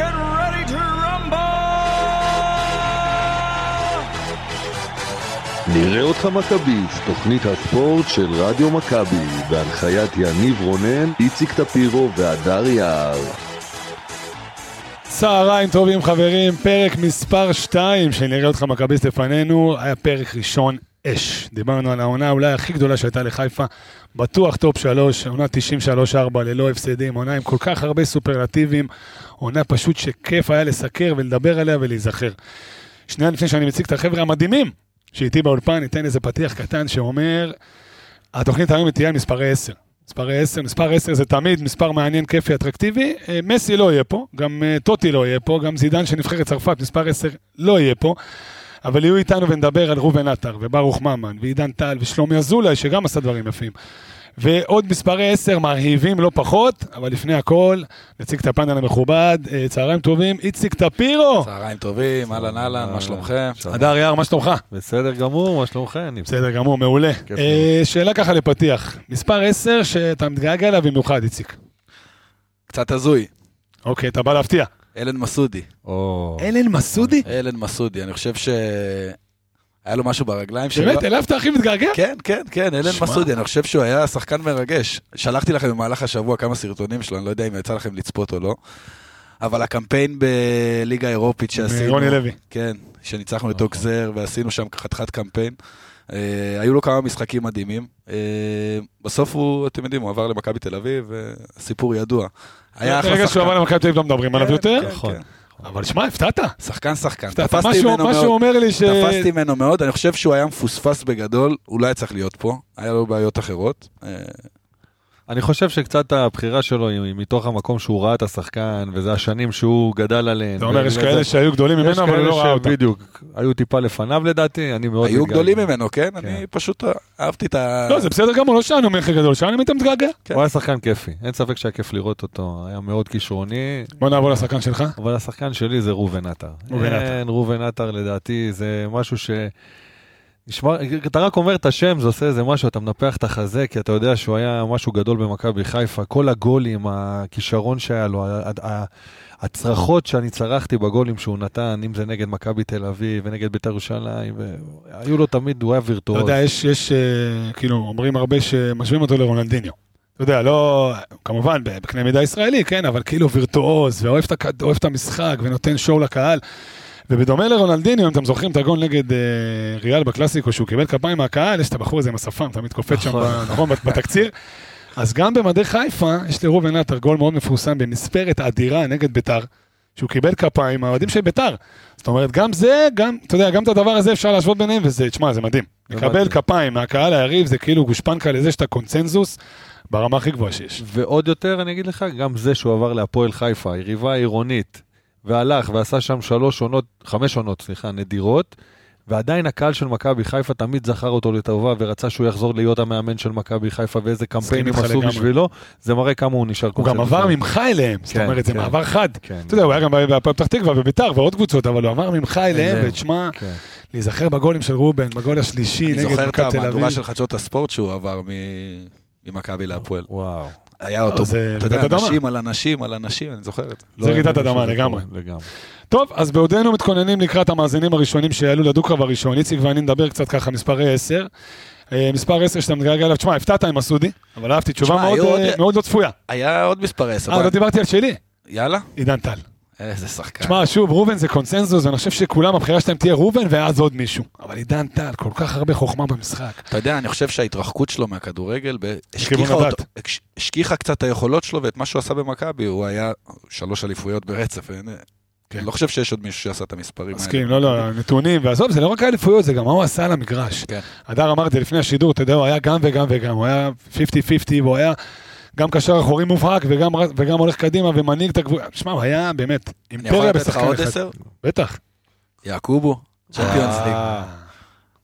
get ready to rumble! נראה אותך מכביסט, תוכנית הספורט של רדיו מכבי, בהנחיית יניב רונן, איציק טפירו והדר יער. צהריים טובים חברים, פרק מספר 2 של נראה אותך מכביסט לפנינו, היה פרק ראשון אש. דיברנו על העונה אולי הכי גדולה שהייתה לחיפה, בטוח טופ 3, עונה 93-4 ללא הפסדים, עונה עם כל כך הרבה סופרלטיבים, עונה פשוט שכיף היה לסקר ולדבר עליה ולהיזכר. שנייה לפני שאני מציג את החבר'ה המדהימים שאיתי באולפן, ניתן איזה פתיח קטן שאומר, התוכנית היום תהיה על מספרי 10. מספרי 10, מספר 10 זה תמיד מספר מעניין, כיפי, אטרקטיבי. אה, מסי לא יהיה פה, גם אה, טוטי לא יהיה פה, גם זידן של נבחרת צרפת, מספר 10, לא יהיה פה. אבל יהיו איתנו ונדבר על ראובן עטר, וברוך ממן, ועידן טל, ושלומי אזולאי, שגם עשה דברים יפים. ועוד מספרי 10 מרהיבים לא פחות, אבל לפני הכל, נציג את הפאנל המכובד, אה, צהריים טובים, איציק טפירו! צהריים טובים, אהלן אהלן, מה שלומכם? הדר יער, מה שלומך? בסדר גמור, מה שלומכם? בסדר גמור, מעולה. כיף אה, שאלה ככה לפתיח, מספר 10 שאתה מתגעגע אליו במיוחד, איציק. קצת הזוי, אוקיי, אתה בא להפתיע. אלן מסודי. או... אלן מסודי? אלן מסודי, אני חושב ש... היה לו משהו ברגליים שלו. באמת, אליו אתה הכי מתגעגע? כן, כן, כן, אלן שמע. מסודי, אני חושב שהוא היה שחקן מרגש. שלחתי לכם במהלך השבוע כמה סרטונים שלו, אני לא יודע אם יצא לכם לצפות או לא. אבל הקמפיין בליגה האירופית שעשינו... רוני לוי. נכון. כן, שניצחנו את אוקזר ועשינו שם חתיכת קמפיין. אה, היו לו כמה משחקים מדהימים. אה, בסוף הוא, אתם יודעים, הוא עבר למכבי תל אביב, אה, סיפור ידוע. היה אחלה ברגע שהוא שחקן. עבר למכבי תל אביב לא מדברים עליו כן, יותר. כן, נכון. כן. אבל שמע, הפתעת. שחקן שחקן, הפתעת. תפסתי משהו- ממנו משהו מאוד, אומר לי ש... תפסתי ממנו מאוד, אני חושב שהוא היה מפוספס בגדול, הוא לא היה צריך להיות פה, היה לו בעיות אחרות. אה, אני חושב שקצת הבחירה שלו היא מתוך המקום שהוא ראה את השחקן, וזה השנים שהוא גדל עליהן. אתה אומר, יש וזה- כאלה שהיו גדולים יש ממנו, אבל הוא כאלה לא ראה אותם. שבדיוק, היו טיפה לפניו לדעתי, אני מאוד... היו מתגעגע. גדולים ממנו, כן? אני פשוט אהבתי את ה... לא, זה בסדר גמור, לא שאלנו מי הכי גדול, שאלנו אם אתה מתגעגע. כן. הוא היה שחקן כיפי, אין ספק שהיה כיף לראות אותו, היה מאוד כישרוני, בוא נעבור לשחקן שלך. אבל השחקן שלי זה ראובן עטר. ראובן עטר. אין, ראובן עטר לדעתי זה משהו ש... נשמע, אתה רק אומר את השם, זה עושה איזה משהו, אתה מנפח את החזה, כי אתה יודע שהוא היה משהו גדול במכבי חיפה. כל הגולים, הכישרון שהיה לו, ה- ה- הצרחות שאני צרחתי בגולים שהוא נתן, אם זה נגד מכבי תל אביב ונגד בית"ר ירושלים, ו- היו לו תמיד, הוא היה אתה וירטואוז. יודע, יש, יש, אה, כאילו, אומרים הרבה שמשווים אותו לרונלדיניו. אתה יודע, לא, כמובן, בקנה מידה ישראלי, כן, אבל כאילו וירטואוז, ואוהב את, הכד- אוהב את המשחק, ונותן שואו לקהל. ובדומה לרונלדיניו, אם אתם זוכרים את הגול נגד אה, ריאל בקלאסיקו, שהוא קיבל כפיים מהקהל, יש את הבחור הזה עם השפם, תמיד קופץ שם, נכון. ב- נכון, בת- בתקציר. אז גם במדי חיפה, יש לראובן עטר גול מאוד מפורסם במספרת אדירה נגד ביתר, שהוא קיבל כפיים מהאוהדים של ביתר. זאת אומרת, גם זה, גם, אתה יודע, גם את הדבר הזה אפשר להשוות ביניהם, וזה, תשמע, זה מדהים. זה לקבל מדהים. כפיים מהקהל היריב, זה כאילו גושפנקה לזה שאתה קונצנזוס ברמה הכי גבוהה שיש. ועוד יותר, אני אגיד לך, גם זה שהוא עבר להפועל חיפה, היריבה העירונית, והלך ועשה שם שלוש עונות, חמש עונות, סליחה, נדירות, ועדיין הקהל של מכבי חיפה תמיד זכר אותו לטובה, ורצה שהוא יחזור להיות המאמן של מכבי חיפה, ואיזה קמפיינים איתך עשו לגמרי. בשבילו, זה מראה כמה הוא נשאר הוא גם עבר ממך אליהם, זאת כן, אומרת, זה כן. מעבר חד. כן, אתה יודע, הוא היה גם בהפועל פתח תקווה, בביתר, ועוד קבוצות, אבל הוא עבר ממך אליהם, אליהם. ותשמע, כן. להיזכר בגולים של רובן, בגול השלישי אני נגד זוכר את מכבי תל אביב. המהדורה של חדשות הספורט שהוא עבר מ- ממכבי להפועל. וואו. היה אותו, אה, זה אתה יודע, רעידת אדמה. אנשים על אנשים על אנשים, אני זוכר את זה. לא רעידת האמנתי אדמה שזה לגמרי. קורה, לגמרי. טוב, אז בעודנו מתכוננים לקראת המאזינים הראשונים שיעלו לדו-קרב הראשון, איציק ואני נדבר קצת ככה מספרי 10. אה, מספר 10 שאתה מתגעגע אליו, תשמע, הפתעת עם מסודי, אבל אהבתי תשובה תשמע, מאוד, היו עוד- אה, מאוד לא צפויה. היה עוד מספר 10, אה, לא דיברתי על שלי, יאללה, עידן טל. איזה שחקן. תשמע, שוב, ראובן זה קונצנזוס, ואני חושב שכולם, הבחירה שלהם תהיה ראובן ואז עוד מישהו. אבל עידן טל, כל כך הרבה חוכמה במשחק. אתה יודע, אני חושב שההתרחקות שלו מהכדורגל ב- לכיוון השכיחה אותו- הדת. הש- השכיחה קצת את היכולות שלו ואת מה שהוא עשה במכבי, הוא היה שלוש אליפויות ברצף. אין- כן. לא חושב שיש עוד מישהו שעשה את המספרים האלה. מסכים, לא, לא, נתונים, ועזוב, זה לא רק האליפויות, זה גם מה הוא עשה על המגרש. כן. הדר אמר את זה לפני השידור, אתה יודע, הוא היה גם וגם וגם, הוא היה 50-50, והוא היה גם קשר אחורי מובהק, וגם, וגם הולך קדימה ומנהיג את הגבול. שמע, הוא היה באמת אני יכול אימפריה לתת לך בשחקן עוד אחד. עשר? בטח. אה. יעקובו, צ'מפיונס ליג.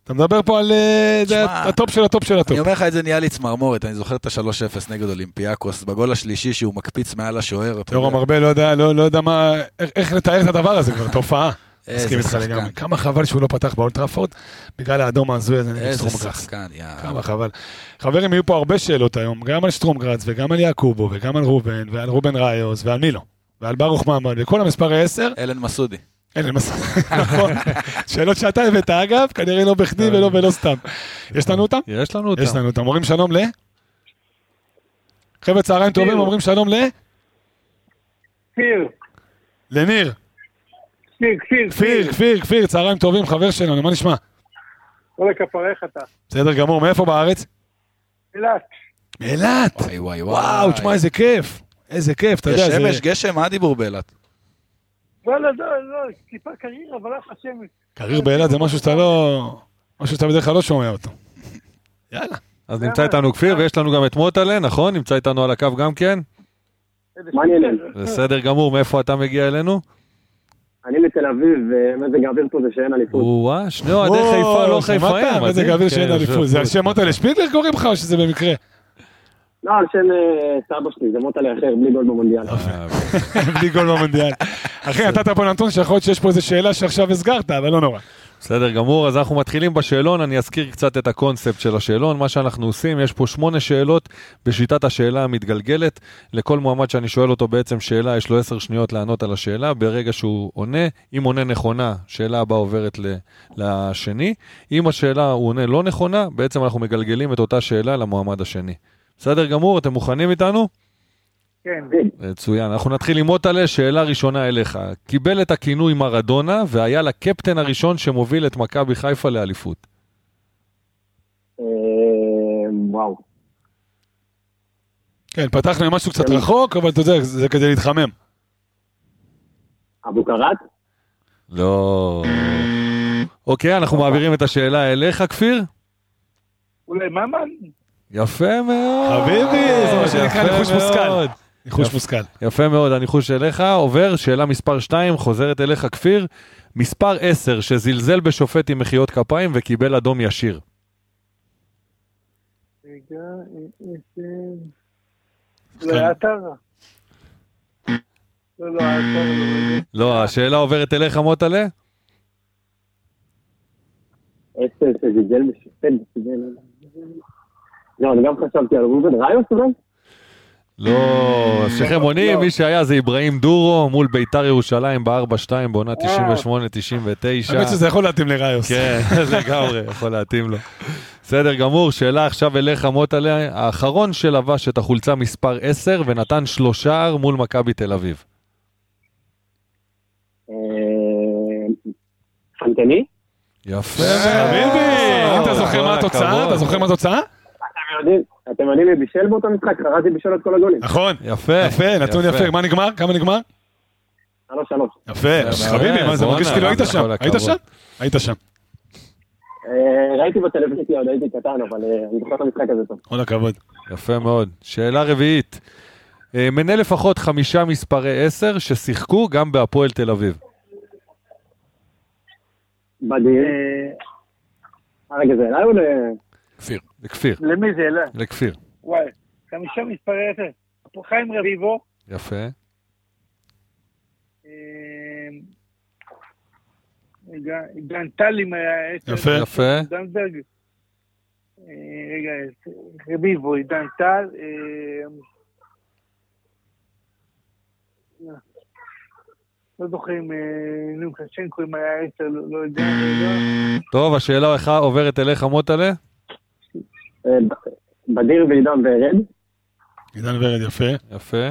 אתה מדבר פה על אה, זה שמע, הטופ של הטופ של אני הטופ. אומר לך, את זה נהיה לי צמרמורת, אני זוכר את ה-3-0 נגד אולימפיאקוס, בגול השלישי שהוא מקפיץ מעל השוער. אתה יורם יודע. ארבל לא יודע, לא, לא יודע מה, איך, איך לתאר את הדבר הזה כבר, תופעה. איזה מסכים איתך שחקן. לגמרי. כמה חבל שהוא לא פתח באולטראפורד, בגלל האדום ההזוי הזה נגד איזה סטרומגרץ. שחקן, יאללה. כמה חבל. חברים, יהיו פה הרבה שאלות היום, גם על שטרום גרץ וגם על יעקובו וגם על רובן ועל רובן ראיוס ועל מילו. ועל ברוך מעמד, וכל המספר 10, אלן מסודי. אין לי מסע, נכון. שאלות שאתה הבאת אגב, כנראה לא בכדי ולא ולא סתם. יש לנו אותם? יש לנו אותם. יש לנו אותם. אומרים שלום ל... חבר'ה צהריים טובים, אומרים שלום ל... כפיר, לניר. כפיר, כפיר, כפיר, כפיר, כפיר, צהריים טובים, חבר שלנו, מה נשמע? כל הכפרך אתה. בסדר גמור, מאיפה בארץ? אילת, מאילת. וואי וואי וואו, תשמע, איזה כיף. איזה כיף, אתה יש יודע, זה... שמש, גשם, מה הדיבור באילת? וואלה, לא, לא, טיפה קריירה, אבל אף השם, קריר באילת זה משהו שאתה לא... משהו שאתה בדרך כלל לא שומע אותו. יאללה. אז נמצא איתנו כפיר, ויש לנו גם את מוטלה, נכון? נמצא איתנו על הקו גם כן? מעניין, בסדר גמור, מאיפה אתה מגיע אלינו? אני מתל אביב, ומזג האוויר פה זה שאין אליפות. או-אה, שני אוהדי חיפה, לא חיפאים. איזה מדהים. גביר כן, שאין אליפות. זה על שם מוטה לשפיגלר קוראים לך או שזה במקרה? לא, על שם אה, סבא שלי, זה מוטה לאחר, בלי גול במונדיאל. אה, בלי גול במונדיאל. אחי, נתת פה נתון שיכול להיות שיש פה איזו שאלה שעכשיו הסגרת, אבל לא נורא. בסדר גמור, אז אנחנו מתחילים בשאלון, אני אזכיר קצת את הקונספט של השאלון, מה שאנחנו עושים, יש פה שמונה שאלות בשיטת השאלה המתגלגלת, לכל מועמד שאני שואל אותו בעצם שאלה, יש לו עשר שניות לענות על השאלה, ברגע שהוא עונה, אם עונה נכונה, שאלה הבאה עוברת ל- לשני, אם השאלה הוא עונה לא נכונה, בעצם אנחנו מגלגלים את אותה שאלה למועמד השני. בסדר גמור, אתם מוכנים איתנו? כן. מצוין, אנחנו נתחיל עם מוטלה, שאלה ראשונה אליך. קיבל את הכינוי מרדונה והיה לקפטן הראשון שמוביל את מכבי חיפה לאליפות. אה, וואו. כן, פתחנו עם משהו קצת רחוק, אבל אתה יודע, זה כדי להתחמם. אבו קראט? לא. אוקיי, אנחנו מעבירים את השאלה אליך, כפיר? אולי ממן? יפה מאוד. חביבי, זה מה שנקרא יפה ניחוש מאוד. מושכל. ניחוש מושכל. יפה מאוד, הניחוש אליך עובר, שאלה מספר 2 חוזרת אליך, כפיר. מספר 10 שזלזל בשופט עם מחיאות כפיים וקיבל אדום ישיר. רגע, אה, אה, אה. אולי עטרה. לא, לא, עטרה לא. רגע. לא, השאלה עוברת אליך, מוטלה? עשר שזיזל ושופט וזיזל. לא, אני גם חשבתי על ראובן ראיוס אולי? לא, אה, אז שניכם לא. עונים, מי שהיה זה אברהים דורו מול ביתר ירושלים ב-4-2 בעונה 98-99. האמת שזה יכול להתאים לראיוס. כן, לגמרי, יכול להתאים לו. בסדר גמור, שאלה עכשיו אליך מוטלה, האחרון שלבש את החולצה מספר 10 ונתן שלושה מול מכבי תל אביב. אה, פנטני? יפה. אה, אה, חביבי, אם אתה זוכר מה התוצאה, אתה זוכר מה התוצאה? אתם יודעים- אתם יודעים מי בישל באותו משחק? קראתי בישל את כל הגולים. נכון. יפה. יפה, נתון יפה. מה נגמר? כמה נגמר? שלוש שלוש. יפה. יפה, חביבי, מה זה בואנה, מרגיש כאילו היית כל שם? היית הכבוד. שם? היית שם. אה, ראיתי בטלוויזיה, עוד הייתי קטן, אבל אה, אני זוכר את המשחק הזה טוב. כל הכבוד. יפה מאוד. שאלה רביעית, אה, מנה לפחות חמישה מספרי 10 ששיחקו גם בהפועל תל אביב. מדהים. אה, רגע, זה אליי או ל... כפיר. לכפיר, למי זה אלה? לכפיר. וואי, חמישה מספרי עשר. חיים רביבו. יפה. אה, רגע, עידן טלים היה עשר. יפה. יפה. דנברג. אה, רגע, אה, רביבו, עידן טל. אה, אה, לא זוכר אם אה, נו, קשנקו, אם היה עשר, לא לא יודע, לא יודע. טוב, השאלה איך- עוברת אליך, מוטלה. אה, ב- בדיר ועידן וארד? עידן ורד, יפה. יפה.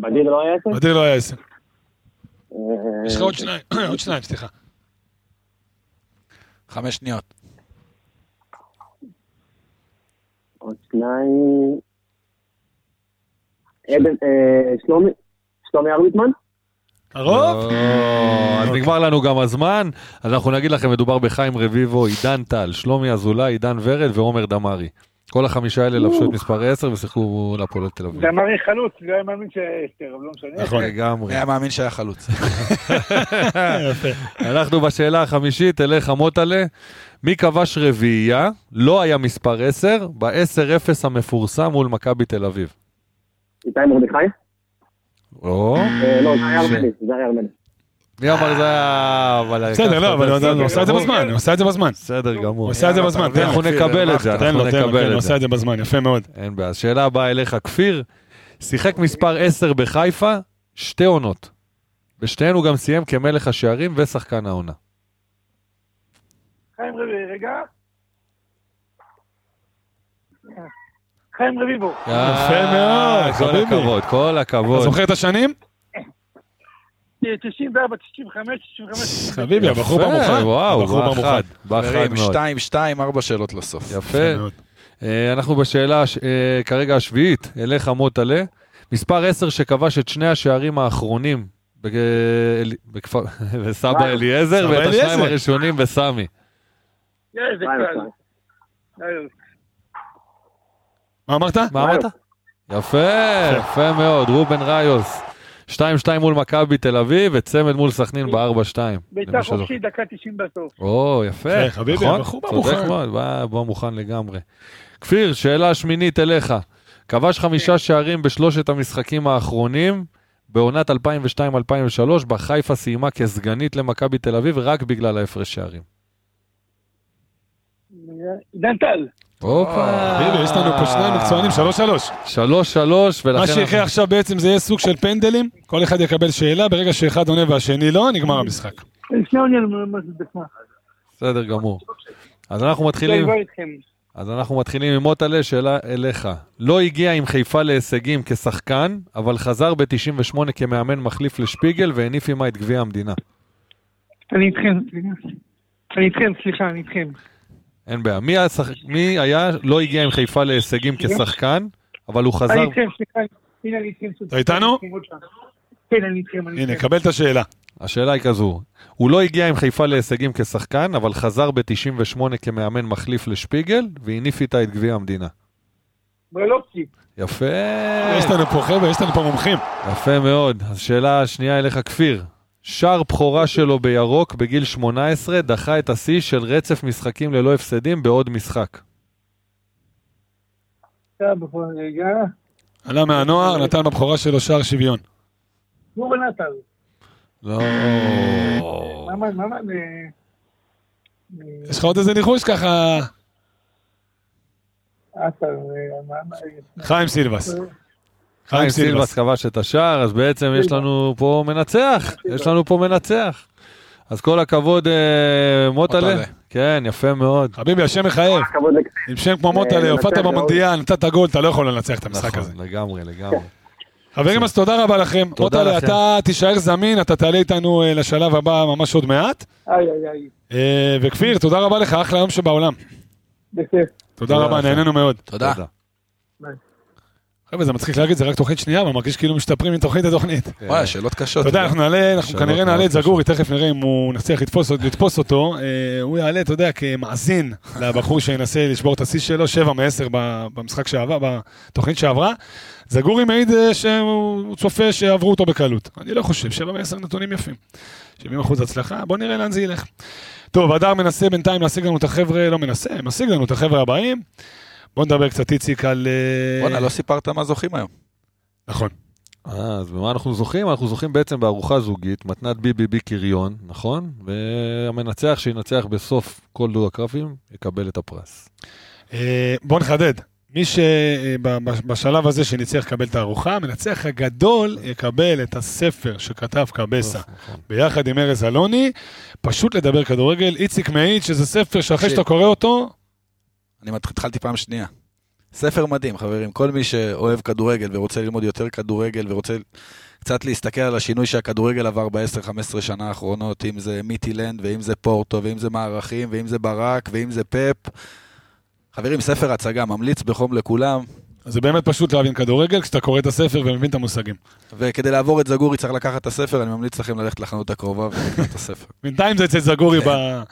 בדיר לא היה עשר? בדיר לא היה עשר. אה, יש לך עוד שניים, עוד שניים, סליחה. חמש שניות. עוד שניים... עדן, אה, שלומי, שלומי ארליטמן? אה, קרוב? או, לא, אז נגמר לנו גם הזמן, אז אנחנו נגיד לכם, מדובר בחיים רביבו, עידן טל, שלומי אזולאי, עידן ורד ועומר דמארי. כל החמישה האלה לבשו את מספר 10 ושיחקו להפועל תל אביב. דמרי חלוץ, לא היה מאמין שהיה עשר, אבל לא אה, משנה. נכון. לגמרי. היה מאמין שהיה חלוץ. אנחנו בשאלה החמישית, אליך מוטלה. מי כבש רביעייה, לא היה מספר 10, ב-10-0 המפורסם מול מכבי תל אביב. איתי מרדכי? או, אה, לא, זה היה ארמני, זה היה ארמני. מי אמר זה היה... אבל בסדר, לקחת לא, את אבל בסדר הוא עשה את זה גמור. בזמן, הוא עשה את זה בזמן. בסדר גמור. הוא עשה את זה בזמן, תן לו. אנחנו נקבל את זה, תן אנחנו לו, תן לו, כן, נקבל הוא את זה. עשה את זה בזמן, יפה מאוד. אין בעיה. שאלה הבאה אליך, כפיר. שיחק מספר 10 בחיפה, שתי עונות. בשתיהן הוא גם סיים כמלך השערים ושחקן העונה. חיים רביבו, רגע. חיים רביבו, יפה מאוד, אה, כל חביבי. הכבוד, כל אתה הכבוד. זוכר את השנים? 94, 95, 95. חביבי, הבחור יפה, במוכן. וואו, הבחור באחד, במוכן. באחד חברים, מאוד. שתיים, שתיים, ארבע שאלות לסוף. יפה. אה, אנחנו בשאלה הש- אה, כרגע השביעית, אליך מוטלה. מספר 10 שכבש את שני השערים האחרונים בג- אל- בכפר- בסבא אליעזר, סבא ואת השניים אליעזר. הראשונים בסמי. איזה מה קל. יפה? אה, מה אמרת? מה אמרת? יפה, יפה מאוד, רובן ריוס. 2-2 מול מכבי תל אביב, וצמד מול סכנין ב-4-2. בעיטה חופשית, דקה 90 בסוף. או, יפה, יפה, כן, חביבי, נכון? הבחור בא צודק מוכן. מאוד, בא- בא מוכן לגמרי. כפיר, שאלה שמינית אליך. כבש חמישה שערים בשלושת המשחקים האחרונים. בעונת 2002-2003, בה חיפה סיימה כסגנית למכבי תל אביב רק בגלל ההפרש שערים. עידן טל. הופה. חביבי, יש לנו פה שניים מקצוענים, שלוש שלוש. שלוש שלוש, ולכן... מה שיקרה אנחנו- עכשיו בעצם זה יהיה סוג של פנדלים, כל אחד יקבל שאלה, ברגע שאחד עונה והשני לא, נגמר המשחק. שנייה עונה מה זה דקה. בסדר גמור. אז אנחנו אני מתחילים... כבר איתכם. אז אנחנו מתחילים עם מוטלה, שאלה אליך. לא הגיע עם חיפה להישגים כשחקן, אבל חזר ב-98 כמאמן מחליף לשפיגל והניף עימה את גביע המדינה. אני איתכם, סליחה. אני איתכם, סליחה, אני איתכם. אין בעיה. מי, השח... מי היה, לא הגיע עם חיפה להישגים כשחקן, אבל הוא אני חזר... איתכם, סליחה. הנה, אני איתכם. אתה איתנו? כן, אני איתכם. אני הנה, איתכם. קבל את השאלה. השאלה היא כזו, הוא לא הגיע עם חיפה להישגים כשחקן, אבל חזר ב-98 כמאמן מחליף לשפיגל והניף איתה את גביע המדינה. ברלובסקי. יפה, יש לנו פה חבר'ה, יש לנו פה מומחים. יפה מאוד. אז שאלה השנייה אליך, כפיר. שער בכורה שלו בירוק בגיל 18 דחה את השיא של רצף משחקים ללא הפסדים בעוד משחק. אתה בכל רגע. עלה מהנוער, נתן בבכורה שלו שער שוויון. גורן עטר. לא. מעמד, מעמד. אה, יש לך עוד איזה ניחוש ככה? עטר. אה, מעמד. חיים סילבס. חיים סילבס כבש את השער, אז בעצם יש לנו פה מנצח, יש לנו פה מנצח. אז כל הכבוד, אה, מוטלה. מוטלה. כן, יפה מאוד. חביבי, השם מחייב. כבוד לכ- עם שם כמו מוטלה, אה, הופעת לנצח במונדיאל, נתת גול, אתה לא יכול לנצח את המשחק הזה. נכון, לגמרי, לגמרי. חברים, אז תודה רבה לכם. תודה מוטלה, לכם. אתה תישאר זמין, אתה תעלה איתנו אה, לשלב הבא ממש עוד מעט. איי, איי, איי. אה, וכפיר, תודה רבה לך, אחלה יום שבעולם. בסדר. תודה רבה, לכם. נהנינו מאוד. תודה. חבר'ה, זה מצחיק להגיד, זה רק תוכנית שנייה, אבל מרגיש כאילו משתפרים מתוכנית לתוכנית. וואי, שאלות קשות. אתה אה, יודע, אנחנו נעלה, אנחנו שאלות כנראה מאוד נעלה את קשות. זגורי, תכף נראה אם הוא נצליח לתפוס- לתפוס אותו. אה, הוא יעלה, אתה יודע, כמאזין לבחור שינסה לשבור את השיא שלו, 7 מ-10 במשחק שעבר, בתוכנית שעברה. זגורי מעיד אה, שהוא צופה שעברו אותו בקלות. אני לא חושב, 7 מ-10 נתונים יפים. 70 אחוז הצלחה, בוא נראה לאן זה ילך. טוב, הדר מנסה בינתיים להשיג לנו את החבר'ה, לא מנסה, משיג לנו את החבר'ה הבאים. בוא נדבר קצת, איציק, על... אה, בואנה, לא סיפרת מה זוכים היום. נכון. אה, אז במה אנחנו זוכים? אנחנו זוכים בעצם בארוחה זוגית, מתנת BBB קריון, נכון? והמנצח שינצח בסוף כל דו הקרבים, יקבל את הפרס. אה, בוא נחדד. מי אה, שבשלב הזה שניצח יקבל את הארוחה, המנצח הגדול יקבל את הספר שכתב קבסה נכון. ביחד עם ארז אלוני, פשוט לדבר כדורגל. איציק מעיד שזה ספר שאחרי ש- שאתה קורא אותו, אני מת- התחלתי פעם שנייה. ספר מדהים, חברים. כל מי שאוהב כדורגל ורוצה ללמוד יותר כדורגל ורוצה קצת להסתכל על השינוי שהכדורגל עבר ב-10-15 שנה האחרונות, אם זה מיטילנד ואם זה פורטו ואם זה מערכים ואם זה ברק ואם זה פאפ. חברים, ספר הצגה, ממליץ בחום לכולם. אז זה באמת פשוט להבין כדורגל כשאתה קורא את הספר ומבין את המושגים. וכדי לעבור את זגורי צריך לקחת את הספר, אני ממליץ לכם ללכת לחנות הקרובה ולקנות את הספר. בינתיים זה אצל זגורי כן. ב-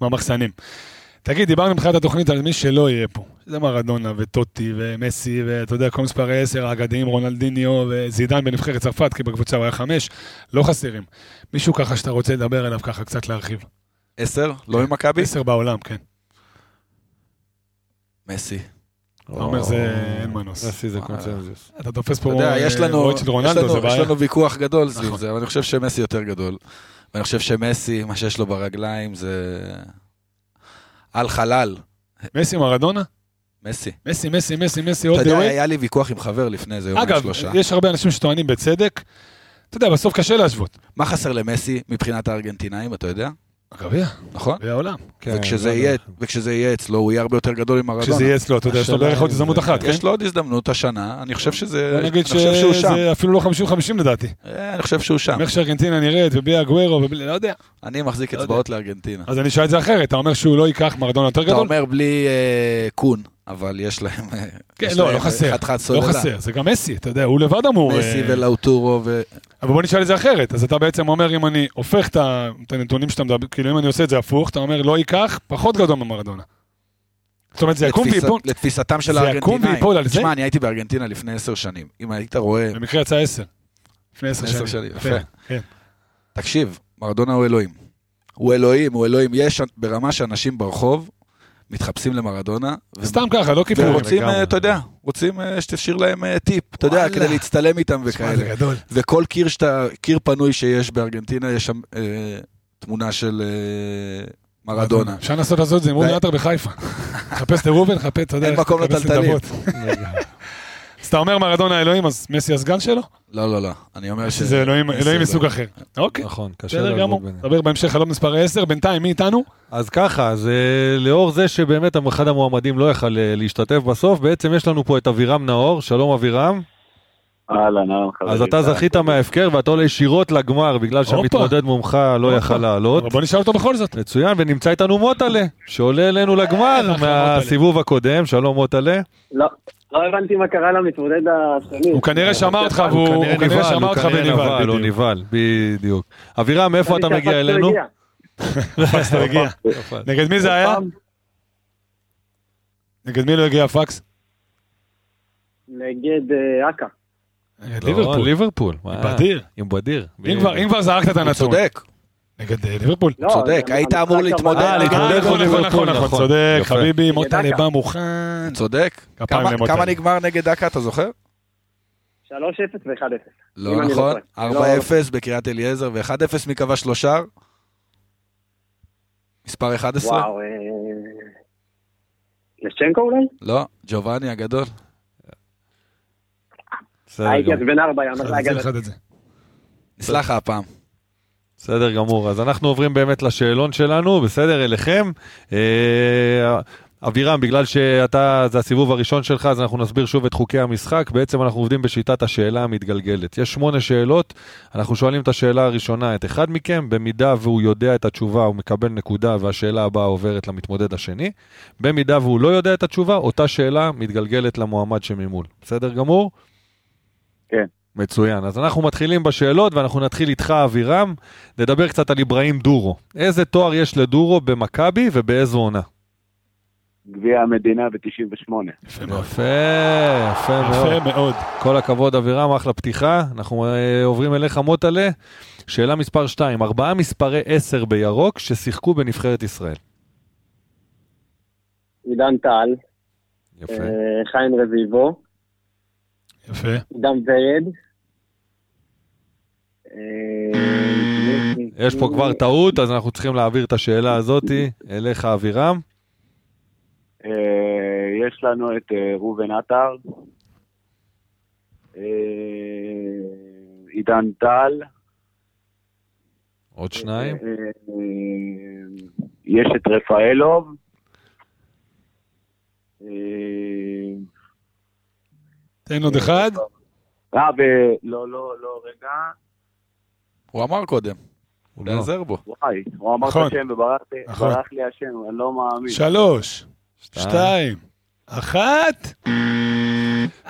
במחסנים. תגיד, דיברנו מבחינת התוכנית על מי שלא יהיה פה. זה מרדונה וטוטי ומסי ואתה יודע, כל מספרי 10 האגדיים, רונלדיניו וזידן בנבחרת צרפת, כי בקבוצה הוא היה חמש, לא חסרים. מישהו ככה שאתה רוצה לדבר עליו ככה, קצת להרחיב. עשר? לא ממכבי? עשר בעולם, כן. מסי. אתה אומר זה אין מנוס. נסי זה וואלה. קונצנזוס. אתה תופס אתה פה יודע, יש אה, לנו, אוהד של רונלדו, יש לנו- זה בעיה. יש לנו ויכוח גדול סביב נכון. זה, אבל אני חושב שמסי יותר גדול. ואני חושב שמסי, מה שיש לו ברגליים זה על חלל. מסי מרדונה? מסי. מסי, מסי, מסי, מסי, עוד אתה יודע, דווי. היה לי ויכוח עם חבר לפני איזה יום אגב, שלושה. יש הרבה אנשים שטוענים בצדק, אתה יודע, בסוף קשה להשוות. מה חסר למסי מבחינת הארגנטינאים, אתה יודע? הגביע, נכון? גביע העולם. כן, וכשזה לא יודע. יהיה- וכשזה יהיה אצלו, הוא יהיה הרבה יותר גדול עם מרדונה. כשזה יהיה אצלו, אתה יודע, יש לו השאלה בערך עוד אם הזדמנות זה- אחת, כן? יש לו עוד הזדמנות השנה, אני חושב שזה... בוא נגיד אני חושב שהוא שם. שזה אפילו לא 50-50 לדעתי. אה, אני חושב שהוא שם. איך שארגנטינה נראית, ובלי הגוורו, ובלי, לא יודע. אני מחזיק יודע. אצבעות לארגנטינה. אז אני אשאל את זה אחרת, אתה אומר שהוא לא ייקח מרדונה יותר אתה גדול? אומר בלי אה, קון, אבל יש להם... אה, כן, יש לא, להם לא חסר. חתיכת לא סוללה. חסר, זה גם מסי, אתה יודע, הוא לבד אמור... מסי אה, ולאוטורו ו... אבל בוא נשאל את זה אחרת, אז אתה בעצם אומר, אם אני הופך את ה- את הנתונים שאתה מדבר, כאילו אם אני עושה את זה הפוך, אתה אומר, לא ייקח, פחות גדול ממרדונה. זאת אומרת, זה יקום לתפיסת- ויפול, לתפיסתם של זה יקום הארגנטינאים. ויפול על זה? תשמע, אני הייתי בארגנטינה לפני עשר שנים. אם היית רואה... במקרה יצא עשר. לפני עשר שנים. עשר שנים, כן, יפה. כן. תקשיב, מרדונה הוא אלוהים. הוא אלוהים, הוא אלוהים. יש ברמה שאנשים ברחוב מתחפשים למרדונה. ו- סתם ככה, לא כיפור. ורוצים, לגמרי. אה, אתה יודע, רוצים אה, שתשאיר להם אה, טיפ, אתה יודע, וואלה. כדי להצטלם איתם שמע, זה וכאלה. גדול. וכל קיר שאתה, קיר פנוי שיש בארגנטינה, יש שם אה, תמונה של אה, מרדונה. אפשר לנסות לעשות את זה עם ראובן די. עטר בחיפה. חפש את ראובן, חפש, אתה יודע, אין איך מקום לחפש לטלטלים. נדבות. אז אתה אומר מרדונה אלוהים, אז מסי הסגן שלו? לא, לא, לא, אני אומר ש... שזה אלוהים מסי אלוהים לא. מסוג אחר. אוקיי, נכון, קשה בסדר להשוות גמור. ביניהם. נדבר בהמשך על עוד מספר 10, בינתיים מי איתנו? אז ככה, אז אה, לאור זה שבאמת אחד המועמדים לא יכל אה, להשתתף בסוף, בעצם יש לנו פה את אבירם נאור, שלום אבירם. אהלן, אהלן, חברים. אז אתה זכית מההפקר ואתה עולה ישירות לגמר, בגלל שהמתמודד מומך לא הופה. יכל לעלות. אבל בוא נשאל אותו בכל זאת. מצוין, ונמצא איתנו מוטלה, שעולה אלינו אה, לגמר אחלה, מהסיבוב הקודם, שלום מוטלה. לא, לא הבנתי מה קרה למתמודד השני. הוא כנראה שמע אותך והוא הוא הוא כנראה כנראה נבהל, שמע הוא אותך כנראה בנבהל. נבהל, הוא בדיוק. נבהל, בדיוק. אבירם, מאיפה אתה חשבתי מגיע שהפקס לא אלינו? הגיע. הפקס לא הגיע. נגד מי זה היה? פעם, נגד מי לא הגיע הפקס? נגד אה, אכ"א. נגד לא, ליברפול. ליברפול. אה, מה? בדיר. עם בדיר. אם כבר- אם כבר זרקת את הוא הנתון. צודק, נגד אה, ליברפול. לא, צודק, אני- היית המשחק אמור הבא- להתמודד אה, נגד- אה, נכון, נכון, נכון, נכון, נכון. צודק, יפה. חביבי, מוטה דקה. לבא מוכן. צודק. כפיים כמה- למוטל. כמה נגמר נגד דקה, אתה זוכר? 3-0 ו-1-0. אם לא אני לא נכון, טועה. 4-0 בקריית אליעזר ו-1-0 מקווה שלושה. מספר 11? וואו, אה, לשצ'נקו אולי? לא, ג'ובאני הגדול. בסדר הייתי אז גמור. בן ארבע, ים אחד את זה, אחד את זה. נסלח לך הפעם. בסדר גמור, אז אנחנו עוברים באמת לשאלון שלנו, בסדר, אליכם. אה, אבירם, בגלל שאתה, זה הסיבוב הראשון שלך, אז אנחנו נסביר שוב את חוקי המשחק. בעצם אנחנו עובדים בשיטת השאלה המתגלגלת. יש שמונה שאלות, אנחנו שואלים את השאלה הראשונה, את אחד מכם, במידה והוא יודע את התשובה, הוא מקבל נקודה, והשאלה הבאה עוברת למתמודד השני. במידה והוא לא יודע את התשובה, אותה שאלה מתגלגלת למועמד שממול. בסדר גמור? כן. מצוין. אז אנחנו מתחילים בשאלות, ואנחנו נתחיל איתך, אבירם. נדבר קצת על אברהים דורו. איזה תואר יש לדורו במכבי ובאיזו עונה? גביע המדינה ב-98. יפה מאוד. יפה, יפה מאוד. יפה מאוד. כל הכבוד, אבירם, אחלה פתיחה. אנחנו אה, עוברים אליך, מוטלה. שאלה מספר 2, ארבעה מספרי 10 בירוק ששיחקו בנבחרת ישראל. עידן טל, יפה. אה, חיים רביבו, יפה. עידן ורד. אה, יש פה כבר טעות, אז אנחנו צריכים להעביר את השאלה הזאתי אליך, אבירם. אה, יש לנו את אה, ראובן עטר, אה, עידן טל, עוד שניים. אה, יש את רפאלוב, אה, תן עוד אחד. אה, ו- לא, לא, לא, רגע, הוא אמר קודם, הוא לא. נעזר בו. וואי, הוא אמר את נכון. השם וברח לי- נכון. ברח לי השם, אני לא מאמין. שלוש, שתיים. שתיים, אחת.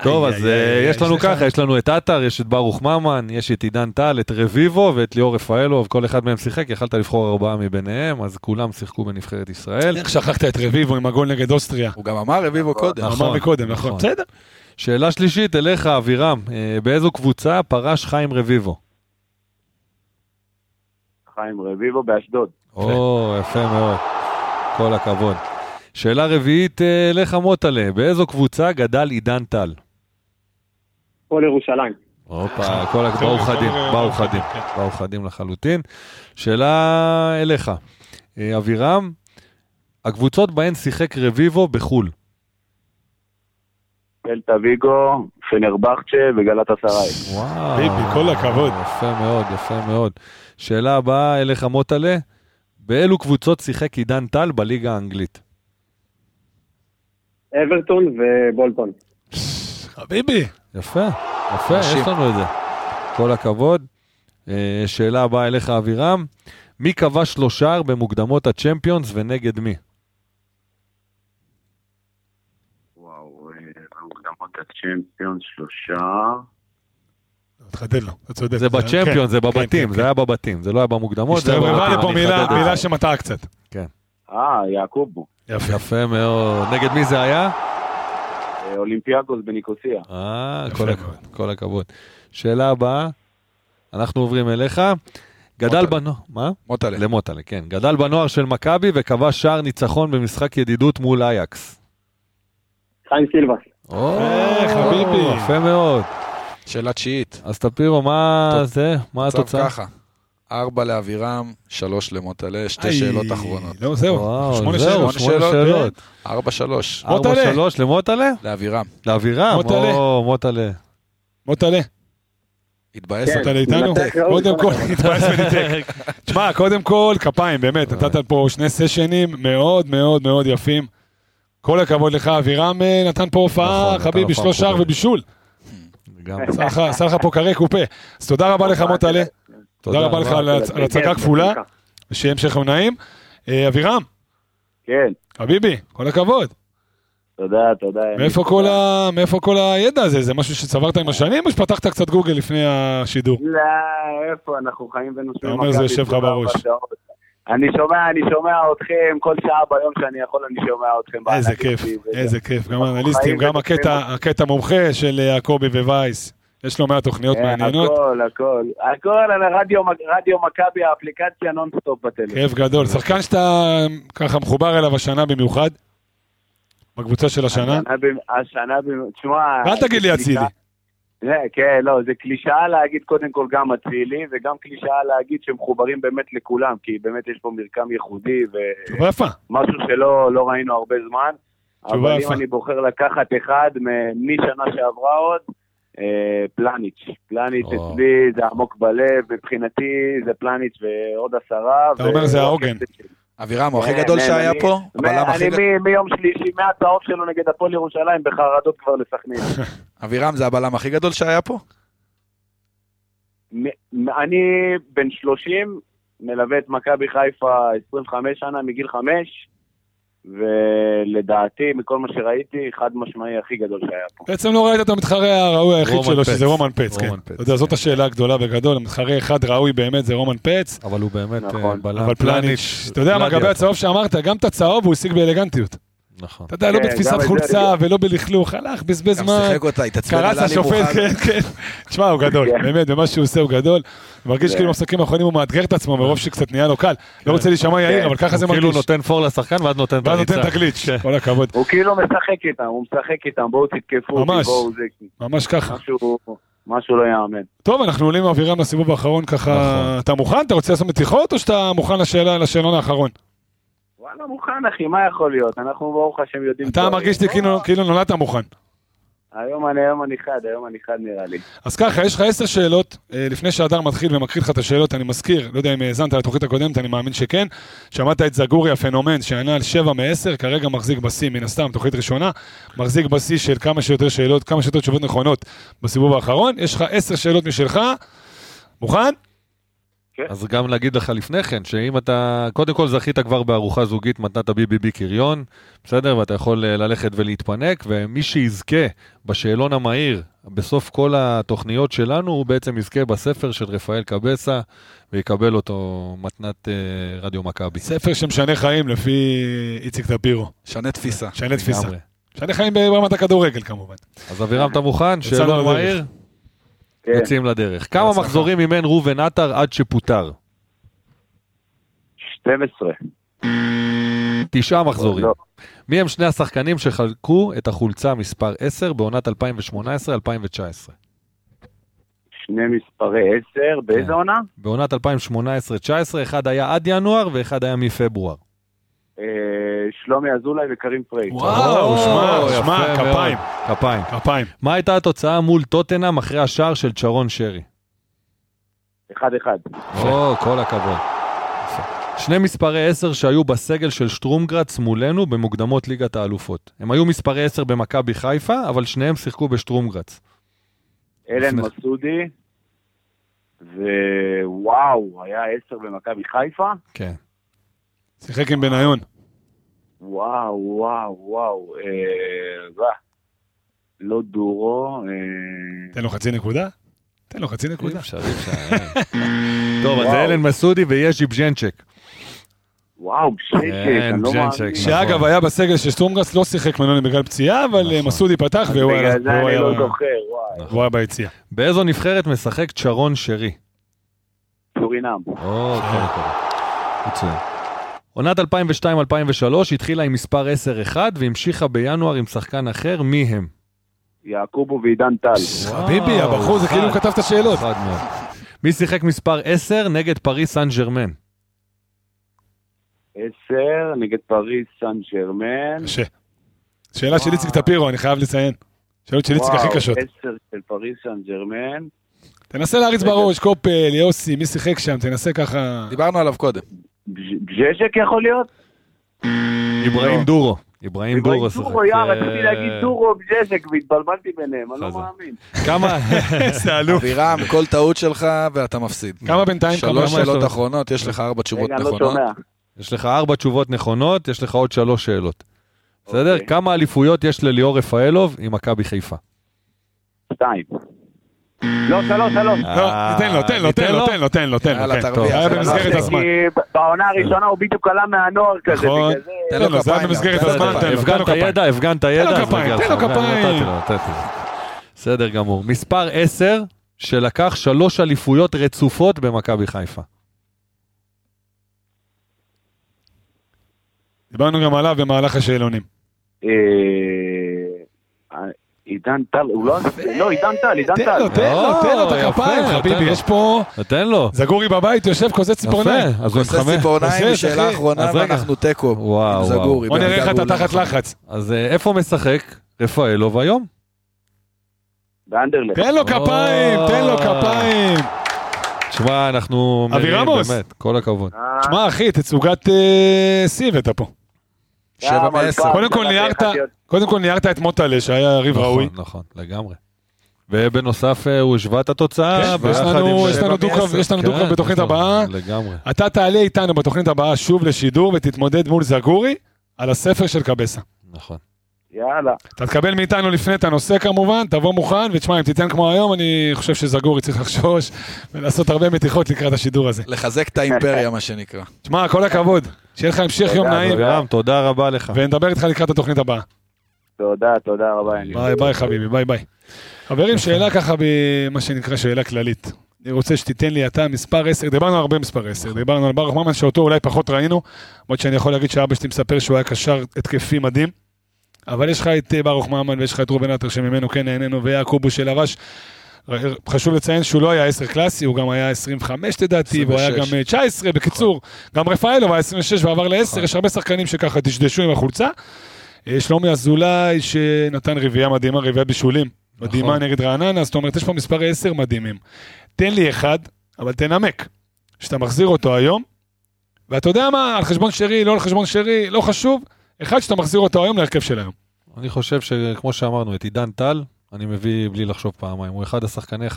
טוב, איי, אז איי, אה, איי, יש לנו סליחה. ככה, יש לנו את עטר, יש את ברוך ממן, יש את עידן טל, את רביבו ואת ליאור רפאלוב, כל אחד מהם שיחק, יכלת לבחור ארבעה מביניהם, אז כולם שיחקו בנבחרת ישראל. איך שכחת את רביבו עם הגול נגד אוסטריה? הוא גם אמר רביבו קודם. נכון, אמר מקודם, נכון. נכון. בסדר. שאלה שלישית, אליך, אבירם, אה, באיזו קבוצה פרש חיים רביבו? חיים רביבו באשדוד. או, יפה מאוד, כל הכבוד. שאלה רביעית אה, אליך, מוטלה, באיזו קבוצה גדל עידן טל? הפועל ירושלים. הופה, כל הכ... באו חבר'ה, חדים, חבר'ה, באו חבר'ה, חדים, כן. באו חדים לחלוטין. שאלה אליך, אה, אבירם, הקבוצות בהן שיחק רביבו בחו"ל, דלתה ויגו, פנרבחצ'ה וגלת אסריי. וואו. ביבי, כל הכבוד. יפה מאוד, יפה מאוד. שאלה הבאה אליך, מוטלה. באילו קבוצות שיחק עידן טל בליגה האנגלית? אברטון ובולטון. חביבי. יפה, יפה, נשים. יש לנו את זה. כל הכבוד. אה, שאלה הבאה אליך, אבירם. מי כבש לו שער במוקדמות הצ'מפיונס ונגד מי? וואו, אה, מוקדמות הצ'מפיון שלושה. תחדד לא לו, אתה צודק. זה בצ'מפיונס, זה כן, כן, בבתים, כן. זה היה בבתים, זה לא היה במוקדמות, זה היה השתרבבה בבתים. לי פה אני מילה, אחדד את מילה זה. שמטעה קצת. אה, יעקובו. יפה. יפה מאוד. נגד מי זה היה? אה, אולימפיאקוס בניקוסיה. אה, יפה כל מאוד. הכבוד, כל הכבוד. שאלה הבאה, אנחנו עוברים אליך. גדל מוטלה. בנוער, מה? מוטלה. למוטלה, כן. גדל בנוער של מכבי וכבש שער ניצחון במשחק ידידות מול אייקס. חיים סילבס. או, אה, חביבי. יפה מאוד. שאלה תשיעית. אז תפירו, מה טוב. זה? מה מצב התוצאה? ככה, ארבע לאבירם, שלוש למוטלה, שתי איי, שאלות אחרונות. לא, זהו. וואו, שמונה זהו, שאלות. שמונה שאלות, כן. שאלות. ארבע שלוש, מוטלה. ארבע שלוש למוטלה? לאבירם. לאבירם, מוטלה. או, מוטלה. מוטלה, התבאס כן. אותה. מוטלה איתנו? מנתק ראוי, קודם כל כל, התבאס וניתק. תשמע, קודם כל, כפיים, באמת, נתת פה שני סשנים מאוד מאוד מאוד יפים. כל הכבוד לך, אבירם אה, נתן פה נכון, הופעה, נתן חביבי, הופעה שלוש שער מכובדת. ובישול. גם. עשה לך- עשה לך פה קרי קופה. אז תודה רבה לך, מוטלה. תודה רבה לך על הצ- על כן, הצגה כפולה, שיהיה המשך יום נעים. אה, אבירם, כן, חביבי, כל הכבוד. תודה, תודה. מאיפה כל ה- מאיפה כל הידע הזה? זה משהו שצברת עם השנים, או שפתחת קצת גוגל לפני השידור? לא, איפה, אנחנו חיים ונושמים. אתה אומר, זה מכבי יושב לך 24 בראש. שעות. אני שומע, אני שומע אתכם כל שעה ביום שאני יכול, אני שומע אתכם. כן, איזה באנליסטים כיף, וזה. איזה כיף, גם האנליסטים, חיים גם ונושמים. הקטע, הקטע מומחה של יעקבי ווייס, יש לו 100 תוכניות כן, אה, מעניינות, הכל, הכל. הכל על הרדיו רדיו מכבי, האפליקציה נונסטופ בטלפון. כיף גדול, שחקן שאתה ככה מחובר אליו השנה במיוחד, בקבוצה של השנה, במ- השנה, במ- תשמע... ואל תגיד לי זה אצילי, קלישאה- זה- כן, לא, זה קלישאה להגיד קודם כל גם אצילי, וגם קלישאה להגיד שמחוברים באמת לכולם, כי באמת יש פה מרקם ייחודי, ו... תשובה יפה, משהו שלא לא ראינו הרבה זמן. תשובה אבל יפה. אם אני בוחר לקחת אחד מ- משנה שעברה עוד, אה, פלניץ'. פלניץ' או. אצלי זה עמוק בלב, מבחינתי זה פלניץ' ועוד עשרה. אתה אומר, זה העוגן. אבירם, הוא הכי כן, גדול כן, שהיה אני- פה, הבלם הכי אני גדול. מ- מיום שלישי, מהצהוב שלו נגד הפועל ירושלים, בחרדות כבר לסכנין. אבירם זה הבלם הכי גדול שהיה פה? מ- מ- אני בן 30, מלווה את מכבי חיפה 25 שנה, מגיל 5, ולדעתי, מכל מה שראיתי, חד משמעי הכי גדול שהיה פה. בעצם לא ראית את המתחרה הראוי היחיד רומן שלו, פץ. שזה רומן פץ, כן, רומן פץ, אתה יודע, זאת כן. השאלה הגדולה בגדול, המתחרה אחד ראוי באמת זה רומן פץ, אבל הוא באמת נכון. אה, בלם. אבל פלניץ', אתה יודע מה, פלניץ'. לגבי הצהוב שאמרת, גם את הצהוב הוא השיג באלגנטיות, נכון. אתה יודע, לא כן, גם בתפיסת את זה חולצה ולא בלכלוך, הלך, בזבז גם זמן. שיחק אותה, התעצבן על קרץ עלי השופט, מוחמד. כן, כן. תשמע, הוא גדול, כן. באמת, במה שהוא עושה הוא גדול. מרגיש כאילו במשחקים האחרונים הוא מאתגר את עצמו כן. מרוב שקצת נהיה לו קל. לא רוצה להישמע יאיר, אבל ככה זה הוא מרגיש. כאילו נותן פור לשחקן ואז נותן את ואז נותן את הריצה. הגליץ', כן. כל הכבוד. הוא כאילו משחק איתם, הוא משחק איתם, בואו תתקפו, אותי, ממש. בואו זה ממש ככה. משהו, משהו לא יאמן. טוב, אנחנו עולים עם אבירם לסיבוב האחרון ככה. נכון. אתה מוכן? אתה רוצה לעשות מתיחות או שאתה מוכן לשאלה, לשאלון האחרון? וואלה, מוכן אחי, מה יכול להיות? אנחנו ברוך השם יודעים... אתה דברים. מרגיש לי כאילו- כאילו נולדת מוכן. היום אני, היום אני חד, היום אני חד נראה לי. אז ככה, יש לך עשר שאלות, אה, לפני שהדר מתחיל ומקריא לך את השאלות, אני מזכיר, לא יודע אם האזנת לתוכנית הקודמת, אני מאמין שכן, שמעת את זגורי הפנומן, שענה על 7 מ-10, כרגע מחזיק בשיא, מן הסתם, תוכנית ראשונה, מחזיק בשיא של כמה שיותר שאלות, כמה שיותר תשובות נכונות בסיבוב האחרון, יש לך עשר שאלות משלך, מוכן? אז גם להגיד לך לפני כן, שאם אתה, קודם כל זכית כבר בארוחה זוגית, מתנת BBB קריון, בסדר? ואתה יכול אה, ללכת ולהתפנק, ומי שיזכה בשאלון המהיר, בסוף כל התוכניות שלנו, הוא בעצם יזכה בספר של רפאל קבסה, ויקבל אותו מתנת אה, רדיו מכבי. ספר שמשנה חיים לפי איציק טפירו, שנה תפיסה. משנה תפיסה. לגמרי. משנה חיים ברמת הכדורגל כמובן. אז אבירם, אתה מוכן? יצאנו שאלון לדרך. מהיר? כן. יוצאים לדרך. כמה בהצלחה. מחזורים אימן ראובן עטר עד שפוטר? 12. תשעה מחזורים. לא. מי הם שני השחקנים שחלקו את החולצה מספר 10 בעונת 2018-2019? שני מספרי 10, כן. באיזה עונה? בעונת 2018-2019, אחד היה עד ינואר ואחד היה מפברואר. אה, שלומי אזולאי וקרים פרייט. וואו, שמע, יפה שמע, מאוד. כפיים, כפיים. כפיים. מה הייתה התוצאה מול טוטנאם אחרי השער של צ'רון שרי? אחד אחד. או, כל הכבוד. יפה. שני מספרי 10 שהיו בסגל של שטרומגרץ מולנו במוקדמות ליגת האלופות. הם היו מספרי 10 במכבי חיפה, אבל שניהם שיחקו בשטרומגרץ. אלן לפני- מסודי, ווואו, היה עשר במכבי חיפה? כן. שיחק עם בניון. וואו, וואו, וואו. אה, וואו. לא דורו. אה, תן לו חצי נקודה. תן לו חצי נקודה. אה. טוב, אז זה אלן מסודי ויש ג'נצ'ק. וואו, כן, שקט, אני לא ג'נצ'ק, מאמין. נכון. שאגב, היה בסגל של שטרומגרס, לא שיחק מנוני בגלל פציעה, אבל אה, מסודי פתח והוא היה- בגלל זה והוא אני היה- לא זוכר, וואי. והוא היה ביציע. באיזו נבחרת משחק צ'רון שרי? סורינם. או, כן, כן. מצוין. עונת 2002-2003 התחילה עם מספר 10-1 והמשיכה בינואר עם שחקן אחר, מי הם? יעקובו ועידן טל. חביבי, הבחור זה אחד. כאילו הוא כתב את השאלות. חד מאוד. מי שיחק מספר 10 נגד פריס סן ג'רמן? עשר, נגד פריס סן ג'רמן. קשה. שאלה של איציק טפירו, אני חייב לציין. שאלות של איציק הכי וואו, קשות. עשר של פריס סן ג'רמן. תנסה להריץ בראש, קופל, יוסי, מי שיחק שם, תנסה ככה. דיברנו עליו קודם. ג'ז'ק יכול להיות? אברהים דורו. אברהים דורו שיחק. דורו, יא, רציתי אה, להגיד דורו וג'ז'ק והתבלבלתי ביניהם, אני לא חזק. מאמין. כמה? איזה אלוף. אבירם, כל טעות שלך ואתה מפסיד. לא. כמה בינתיים כמה שלוש כמה יש שאלות לו? אחרונות, יש לך ארבע תשובות רגע, אני לא נכונות. שומע. יש לך ארבע תשובות נכונות, יש לך עוד שלוש שאלות. בסדר? אוקיי. כמה אליפויות יש לליאור רפאלוב עם מכבי חיפה? שתיים. לא, שלוש, שלוש. לא, תן לו, תן לו, תן לו, תן לו, תן לו, תן לו. יאללה, כן. תרוויח. טוב, היה יאללה, במסגרת אה, תרוויח. הזמן. כי בעונה הראשונה הוא בדיוק עלה מהנוער כזה, נכון. בגלל זה... תן לו תן לו, זה היה כפיים, במסגרת תן לו הזמן, תן כפיים. לו, תן לו הפגנת כפיים. ידע, הפגנת ידע. אז כפיים, מגיע תן לך. לו נתתי כפיים. לו, נתתי לו. בסדר גמור. מספר 10 שלקח שלוש אליפויות רצופות במכבי חיפה. דיברנו גם עליו במהלך השאלונים. אה, עידן טל, הוא לא... לא, עידן טל, עידן תן טל. לו, תן לו, תן לו את יפה, הכפיים, תן חביבי, לו. יש פה... תן לו. זגורי בבית, יושב כוזה ציפורניים. יפה, אז הוא עם עושה חמש. ציפורניים, עושה, שאלה אחי. אחרונה, אז רגע. ואנחנו תיקו. וואו, עם וואו. זגורי. בוא נראה איך במידה אתה והוא לא תחת נכון. לחץ. אז אה, איפה משחק רפאלוב היום? באנדרלכט. תן לו כפיים, תן לו כפיים. תשמע, אנחנו... אבי מרימים, רמוס. באמת, כל הכבוד. אה, שמע, אחי, תצוגת אה, שיא הבאת פה. שבע אה, אבל מעשר. פעם קודם כל שלח ניירת, אחד להיות- קודם כל ניירת את מוטלה, שהיה ריב נכון, ראוי. נכון, לגמרי. ובנוסף, אה, הוא השווה את התוצאה. כן, ויש ביחד לנו- עם- יש לנו שבע דו-קרב מעשר. יש לנו כן, דו-קרב בתוכנית נכון, הבאה. לגמרי. אתה תעלה איתנו בתוכנית הבאה שוב לשידור ותתמודד מול זגורי על הספר של קבסה. נכון. יאללה. אתה תקבל מאיתנו לפני את הנושא כמובן, תבוא מוכן, ותשמע, אם תיתן כמו היום, אני חושב שזגורי צריך לחשוש ולעשות הרבה מתיחות לקראת השידור הזה. לחזק את האימפריה, מה שנקרא. תשמע, כל הכבוד, שיהיה לך המשך יום תודה, נעים, אבירם, תודה רבה לך. ונדבר איתך לקראת התוכנית הבאה. תודה, תודה רבה, יניב. ביי ביי חביבי, ביי ביי. חברים, שאלה ככה במה שנקרא שאלה כללית. אני רוצה שתיתן לי אתה מספר 10, דיברנו על הרבה מספר 10, דיברנו על ברוך ממן שאותו אולי פחות ראינו, למרות שאני יכול להגיד שאבא שלי מספר שהוא היה קשר התקפי מדהים, אבל יש לך את אה, ברוך ממן ויש לך את רובן עטר שממנו כן נהנינו ויעקובו של הרש. ר- חשוב לציין שהוא לא היה 10 קלאסי, הוא גם היה 25 לדעתי, והוא היה 26. גם אה, 19, בקיצור, גם רפאלוב היה 26 ועבר ל-10, יש הרבה שחקנים שככה דשדשו עם החולצה. אה, שלומי אזולאי שנתן רביעייה מדהימה, רביעייה בישולים. נכון. מדהימה נגד רעננה, זאת אומרת, יש פה מספרי 10 מדהימים. תן לי אחד, אבל תנמק. שאתה מחזיר אותו היום, ואתה יודע מה, על חשבון שרי, לא על חשבון שרי, לא חשוב. אחד שאתה מחזיר אותו היום להרכב של היום. אני חושב שכמו שאמרנו, את עידן טל, אני מביא בלי לחשוב פעמיים. הוא אחד השחקני 50-50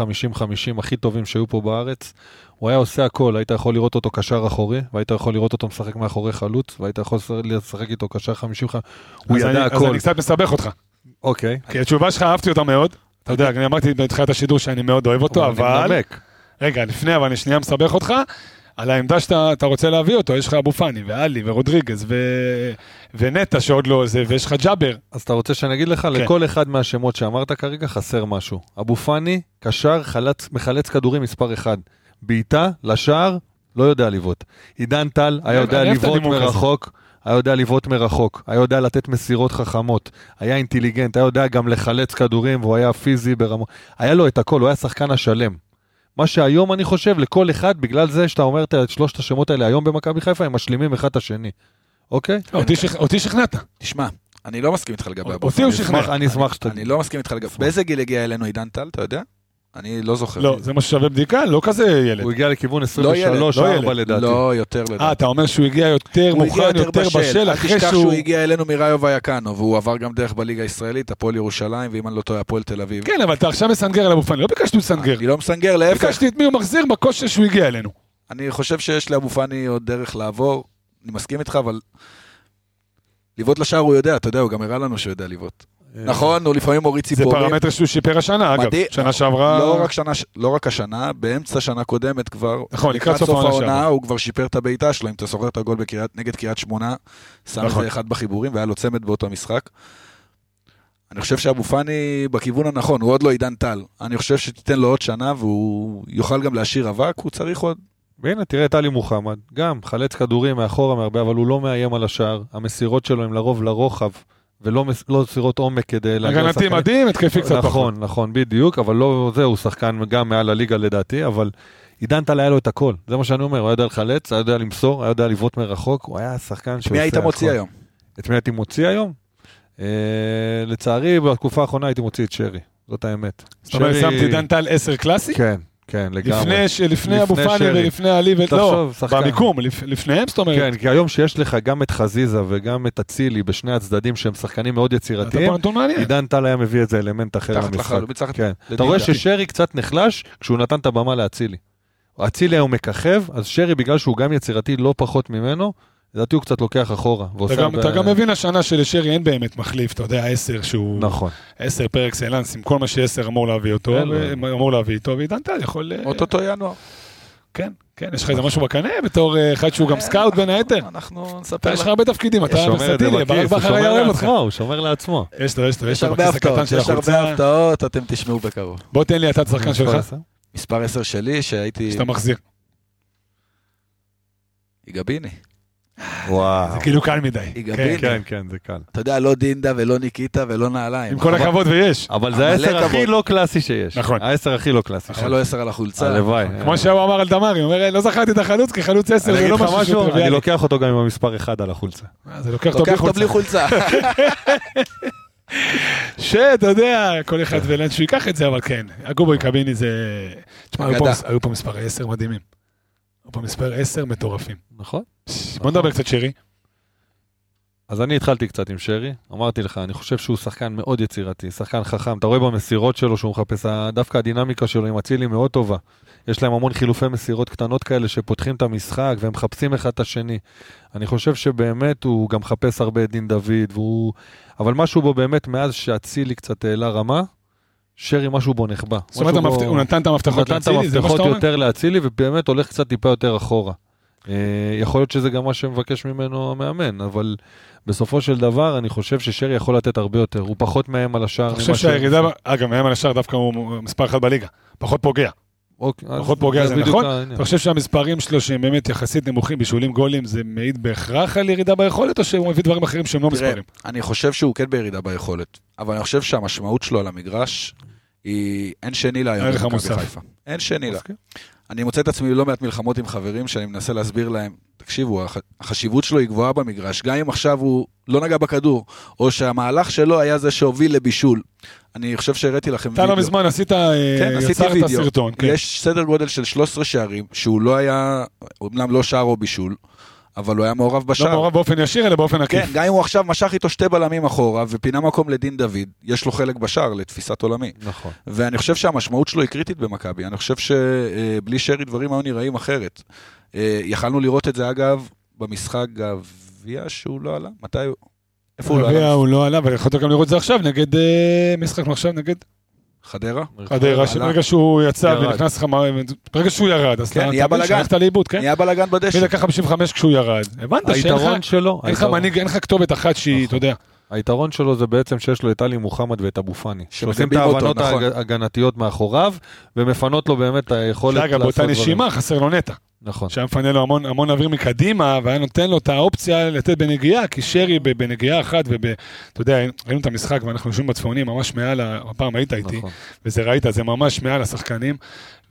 הכי טובים שהיו פה בארץ. הוא היה עושה הכל, היית יכול לראות אותו קשר אחורי, והיית יכול לראות אותו משחק מאחורי חלוץ, והיית יכול לשחק איתו קשר 50 הוא אז ידע אני- אז הכל. אני קצת מסבך אותך. אוקיי. כי התשובה שלך, אהבתי אותה מאוד. אתה יודע, אני אמרתי בתחילת השידור שאני מאוד אוהב אותו, אני אבל... מנמק. רגע, לפני, אבל אני שנייה מסבך אותך. על העמדה שאתה אתה רוצה להביא אותו, יש לך אבו פאני, ואלי, ורודריגז, ו- ונטע שעוד לא זה, ויש לך ג'אבר. אז אתה רוצה שאני אגיד לך, כן. לכל אחד מהשמות שאמרת כרגע חסר משהו. אבו פאני, קשר, חלץ, מחלץ כדורים מספר 1. בעיטה, לשער, לא יודע לבעוט. עידן טל היה יודע אני אוהב את לבעוט הנימוק הזה. מרחוק, היה יודע לבעוט מרחוק, היה יודע לתת מסירות חכמות, היה אינטליגנט, היה יודע גם לחלץ כדורים, והוא היה פיזי ברמות. היה לו את הכל, הוא היה שחקן השלם. מה שהיום אני חושב, לכל אחד, בגלל זה שאתה אומר את שלושת השמות האלה היום במכבי חיפה, הם משלימים אחד את השני. אוקיי? אותי שכ- אותי שכנעת. תשמע, אני לא מסכים איתך לגבי הבוס. אותי הוא אני אשמח- שכנע. אני אשמח שאתה... אוקיי, אני לא מסכים איתך לגבי... באיזה גיל הגיע אלינו עידן טל, אתה יודע? אני לא זוכר. לא, זה מה ששווה בדיקה, לא כזה ילד. הוא הגיע לכיוון לא 23-4 ילד. לדעתי. לא, יותר אה, לדעתי. אתה אומר שהוא הגיע יותר הוא הגיע מוכן, יותר בשל, אל אחרי תשכח שהוא... שהוא הגיע אלינו מראיו ויקנו, והוא עבר גם דרך בליגה הישראלית, הפועל ירושלים, ואם אני לא טועה, הפועל תל אביב. כן, אבל אתה עכשיו מסנגר על אבו פאני, לא ביקשתי לסנגר. אני לא מסנגר, להפך. ביקשתי את מי הוא מחזיר בכושר שהוא הגיע אלינו. אני חושב שיש לאבו פאני עוד דרך לעבור, אני מסכים איתך, אבל... לבעוט לשער הוא יודע, אתה יודע, הוא גם הראה לנו שהוא יודע לבעוט. אה. נכון, הוא לפעמים מוריד זה ציפורים. פרמטר שהוא שיפר השנה, אגב. מדהים. שנה שעברה... לא רק, שנה, לא רק השנה, באמצע שנה קודמת כבר, נכון, לקראת סוף העונה העונה שעברה. הוא כבר שיפר את הבעיטה שלו, אם אתה זוכר את הגול בקריית, נגד קריית שמונה, שם נכון. נכון. אחד בחיבורים והיה לו צמד באותו משחק. אני חושב שאבו פאני בכיוון הנכון, הוא עוד לא עידן טל. אני חושב שתיתן לו עוד שנה והוא יוכל גם להשאיר אבק, הוא צריך עוד. והנה, תראה את עלי מוחמד, גם חלץ כדורים מאחורה מהרבה, אבל הוא לא מאיים על השער. המסירות שלו הן לרוב לרוחב, ולא מס- לא מסירות עומק כדי להגיע הגנתי לשחקנים. מדהים, התקפי קצת פחות. נכון, נכון, בדיוק, אבל לא זה, הוא שחקן גם מעל הליגה לדעתי, אבל עידן טל היה לו את הכל, זה מה שאני אומר, הוא היה יודע לחלץ, היה יודע למסור, היה יודע לבעוט מרחוק, הוא היה שחקן שעושה... מי היית הכל. נכון, מוציא היום? את מי הייתי מוציא היום? אה, לצערי, בתקופה האחרונה הייתי מוציא את שרי, זאת האמת. זאת אומרת, שרי- שמתי דן טל 10 קלאסי? כן, כן, לגמרי. לפני ש- לפני אבו לפני פאני שרי. ולפני עלי, ו- לא, תחשוב, שחקן. במיקום, לפ- לפניהם, זאת אומרת. כן, כי היום שיש לך גם את חזיזה וגם את אצילי בשני הצדדים שהם שחקנים מאוד אתה יצירתיים, פה נתון מעניין. עידן טל היה מביא איזה אלמנט אחר מתחת למשחק. לחלוץ, מתחת כן. אתה לדיליה. רואה ששרי קצת נחלש כשהוא נתן את הבמה לאצילי. אצילי היום מככב, אז שרי בגלל שהוא גם יצירתי לא פחות ממנו, לדעתי הוא קצת לוקח אחורה. אתה ועושה גם- ב- אתה גם מבין השנה שלשרי אין באמת מחליף, אתה יודע, 10 שהוא... נכון. 10 פר אקסלנס, עם כל מה ש-10 אמור להביא אותו, כן, ו- אמור להביא איתו, ועידן טל יכול... אה, אוטוטו ינואר. כן, כן, יש לך איזה משהו בקנה בתור אה, אחד שהוא גם סקאוט בין היתר. אנחנו אתה, נספר יש לך לך. הרבה תפקידים, אתה הוא שומר את זה ורסטילי, ברק בכיס, הוא בכר היה שומר אוהב אותך. לעצמו, הוא שומר לעצמו. יש לו, יש לו, יש יש לו הרבה בכיס הקטן הפתעות, של יש הרבה החולצה. הפתעות, אתם תשמעו בקרוב. בוא תן לי אתה את אה, השחקן נכון. שלך, מספר 10 שלי, שהייתי... שאתה מחזיר. יגביני. וואו. זה כאילו קל מדי. יגביני. כן, כן. כן, כן, זה קל. אתה יודע, לא דינדה ולא ניקיטה ולא נעליים. נכון? עם כל אבל- הכבוד ויש. אבל זה מלא העשר הכי כבוד. לא קלאסי שיש. נכון. העשר הכי לא קלאסי. היה לו 10 על החולצה. הלוואי. כמו שהוא אמר על דמרי, הוא אומר, "אה, לא זכרתי את החלוץ כחלוץ 10, כן. אני זה אגיד לא לך משהו שהוא משהו, אני טריוויאלי. לוקח אותו גם עם המספר 1 על החולצה. אה, זה לוקח אותו לוקח בלי אותו בלי חולצה. חולצה. שאתה יודע, כל כן. אחד ולאן שהוא ייקח את זה, אבל כן, הגובוי קביני זה... תשמע, היו פה אגדה. מס- היו פה מספר 10 מדהימים. היו פה מספר 10 מטורפים. נכון. בוא נדבר קצת שרי. אז אני התחלתי קצת עם שרי, אמרתי לך, אני חושב שהוא שחקן מאוד יצירתי, שחקן חכם, אתה רואה במסירות שלו שהוא מחפש, ה- דווקא הדינמיקה שלו עם אצילי מאוד טובה. יש להם המון חילופי מסירות קטנות כאלה שפותחים את המשחק והם מחפשים אחד את השני. אני חושב שבאמת הוא גם מחפש הרבה את דין דוד, והוא... אבל משהו בו באמת, מאז שאצילי קצת העלה רמה, שרי משהו בו נחבא. זאת אומרת, משהו בו- המפת- הוא נתן את הוא המפתחות נתן את לאצילי, זה מה המפתחות שאתה אומר? יותר לאצילי, ובאמת הולך קצת טיפה יותר אחורה. אה, יכול להיות שזה גם מה שמבקש ממנו המאמן, אבל בסופו של דבר אני חושב ששרי יכול לתת הרבה יותר, הוא פחות מאיים על השער. אני חושב ממה ש- שהירידה, ב- אגב, מאמן השער דווקא הוא מספר אחת בליגה, פחות פוגע. אוקיי, אז פחות פוגע, זה בדיוק נכון? העניין. אתה חושב שהמספרים שלו שהם באמת יחסית נמוכים בישולים גולים, זה מעיד בהכרח על ירידה ביכולת, או שהוא מביא דברים אחרים שהם לא תראה, מספרים? אני חושב שהוא כן בירידה ביכולת, אבל אני חושב שהמשמעות שלו על המגרש היא אין שני לה היום אין לך אוקיי. במכבי מוסף. חיפה. אין שני לה. מסכים. אני מוצא את עצמי בלא מעט מלחמות עם חברים שאני מנסה להסביר להם, תקשיבו, הח- החשיבות שלו היא גבוהה במגרש, גם אם עכשיו הוא לא נגע בכדור, או שהמהלך שלו היה זה שהוביל לבישול. אני חושב שהראיתי לכם אתה לא מזמן עשית, אה, כן, עשיתי יצרת וידאו. סרטון. כן. יש סדר גודל של 13 שערים, שהוא לא היה, אמנם לא שער או בישול, אבל הוא היה מעורב לא בשער. מעורב באופן ישיר, אלא באופן כן, עקיף. גם אם הוא עכשיו משך איתו שתי בלמים אחורה ופינה מקום לדין דוד, יש לו חלק בשער לתפיסת עולמי. נכון. ואני חושב שהמשמעות שלו היא קריטית במכבי. אני חושב שבלי שרי דברים היו נראים אחרת. אה, יכלנו לראות את זה, אגב, במשחק גביע שהוא לא עלה. מתי הוא? איפה הוא לא גביע עלה? הוא לא עלה, אבל יכולת גם לראות את זה עכשיו, נגד אה, משחק עכשיו נגד חדרה? חדרה, שברגע שהוא יצא ירד. ונכנס לך, מה- ברגע שהוא ירד, אז כן, אתה נהיה אתה מבין בלאגן. שהלכת לאיבוד, כן? נהיה בלאגן מי בדשא. לקח 55 כשהוא ירד? הבנת שאין לך- היתרון שלו, אין לך היתרון- מנהיג, אין לך כתובת אחת שהיא, אתה נכון. יודע. היתרון שלו זה בעצם שיש לו את עלי מוחמד ואת אבו פאני. שעושים את שמגבים אותו, ההבנות נכון. ההג- ההגנתיות מאחוריו, ומפנות לו באמת את היכולת שאגב, לעשות באותה דברים. נשימה חסר לו נטע. נכון. שהיה מפנה לו המון, המון אוויר מקדימה, והיה נותן לו את האופציה לתת בנגיעה, כי שרי ב- בנגיעה אחת וב... אתה יודע, ראינו את המשחק ואנחנו יושבים בצפונים, ממש מעל, ה- הפעם היית איתי, נכון. וזה ראית, זה ממש מעל השחקנים.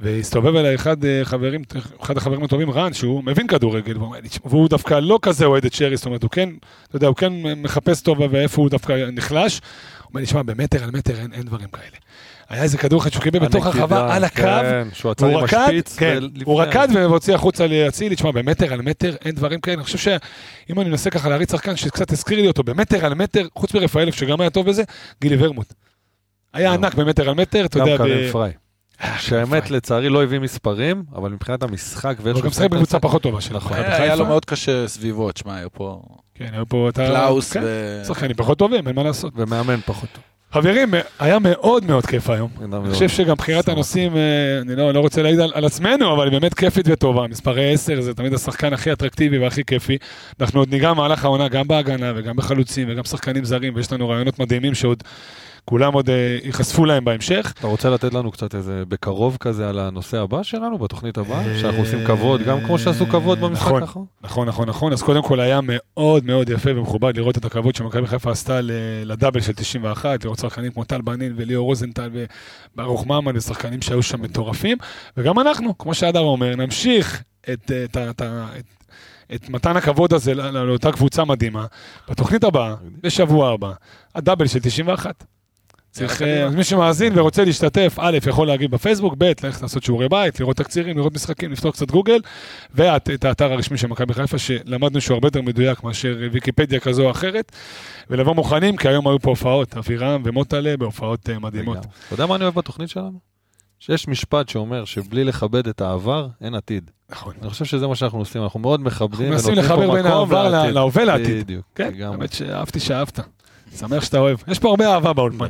והסתובב אליי אחד, אה, חברים, אחד החברים הטובים, רן, שהוא מבין כדורגל, והוא אומר לי, "תשמע", והוא דווקא לא כזה אוהד את שרי, זאת אומרת, הוא כן, אתה יודע, הוא כן מחפש טובה ואיפה הוא דווקא נחלש. הוא אומר לי, שמע, במטר על מטר אין, אין דברים כאלה. היה איזה כדור אחד שהוא קיבל בתוך הנקידה, הרחבה, על הקו, כן, שהוא עצר עם הוא רקד, השפיץ. כן, ולפני- הוא רקד והוציא החוצה לאצילי, תשמע, במטר על מטר אין דברים כאלה. אני חושב שאם אני מנסה ככה להריץ שחקן שקצת הזכיר לי אותו, במטר על מטר, חוץ מרפאלף שגם היה טוב בזה, גילי ורמוט. היה לא. ענק במטר על מטר, אתה גם יודע, ב- אה, קרים פריי. שהאמת, פריי. לצערי, לא הביא מספרים, אבל מבחינת המשחק ואיך הוא גם משחק בקבוצה פחות טובה שלו. נכון. מכבי היה חיפה. לו מאוד קשה סביבו, תשמע, היו פה כן, היו פה את ה... קלאוס כן, ו... שחקנים פחות טובים, אין מה לעשות. ומאמן פחות טוב. חברים, היה מאוד מאוד כיף היום. אני חושב שגם בחירת שמח. הנושאים, אה, אני לא, לא רוצה להעיד על, על עצמנו, אבל היא באמת כיפית וטובה. מספרי 10 זה תמיד השחקן הכי אטרקטיבי והכי כיפי. אנחנו עוד ניגע במהלך העונה גם בהגנה וגם בחלוצים וגם שחקנים זרים, ויש לנו רעיונות מדהימים שעוד כולם עוד אה, ייחשפו להם בהמשך. אתה רוצה לתת לנו קצת איזה בקרוב כזה על הנושא הבא שלנו, בתוכנית הבאה, שאנחנו עושים כבוד, גם כמו שעשו כבוד במשחק נכון. האחרון? נכון, נכון, נכון. אז קודם כל היה מאוד מאוד יפה ומכובד לראות את הכבוד שמכבי חיפה עשתה ל- לדאבל של 91, לראות שחקנים כמו טל בנין וליאור רוזנטל וברוך ממן ושחקנים שהיו שם מטורפים. וגם אנחנו, כמו שהדר אומר, נמשיך את, אה, את, ה- את, ה- את, את מתן הכבוד הזה לא- לא- לאותה קבוצה מדהימה. בתוכנית הבאה, בשבוע הבא, הדאבל של 91. צריך, אה, אז מי שמאזין ורוצה להשתתף, א', יכול להגיב בפייסבוק, ב', ללכת לעשות שיעורי בית, לראות תקצירים, לראות משחקים, לפתוח קצת גוגל, ואת את האתר הרשמי של מכבי חיפה, שלמדנו שהוא הרבה יותר מדויק מאשר ויקיפדיה כזו או אחרת, ולבוא מוכנים, כי היום היו פה הופעות, אבירם ומוטלה בהופעות אה, מדהימות. לגמרי. אתה יודע מה אני אוהב בתוכנית שלנו? שיש משפט שאומר שבלי לכבד את העבר, אין עתיד. נכון. אני חושב שזה מה שאנחנו עושים, אנחנו מאוד מכבדים. אנחנו מנסים ונותנים פה לחבר בין מקום העבר ל- לעתיד. להווה לעתיד. בדיוק, כן, לגמרי. האמת שאהבתי שאהבת. שמח שאתה אוהב. יש פה הרבה אהבה באולפן.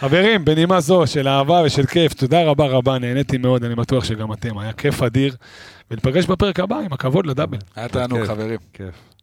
חברים, בנימה זו של אהבה ושל כיף, תודה רבה רבה, נהניתי מאוד, אני בטוח שגם אתם, היה כיף אדיר. וניפגש בפרק הבא עם הכבוד לדאבל. היה תענוג, כן. חברים. כיף.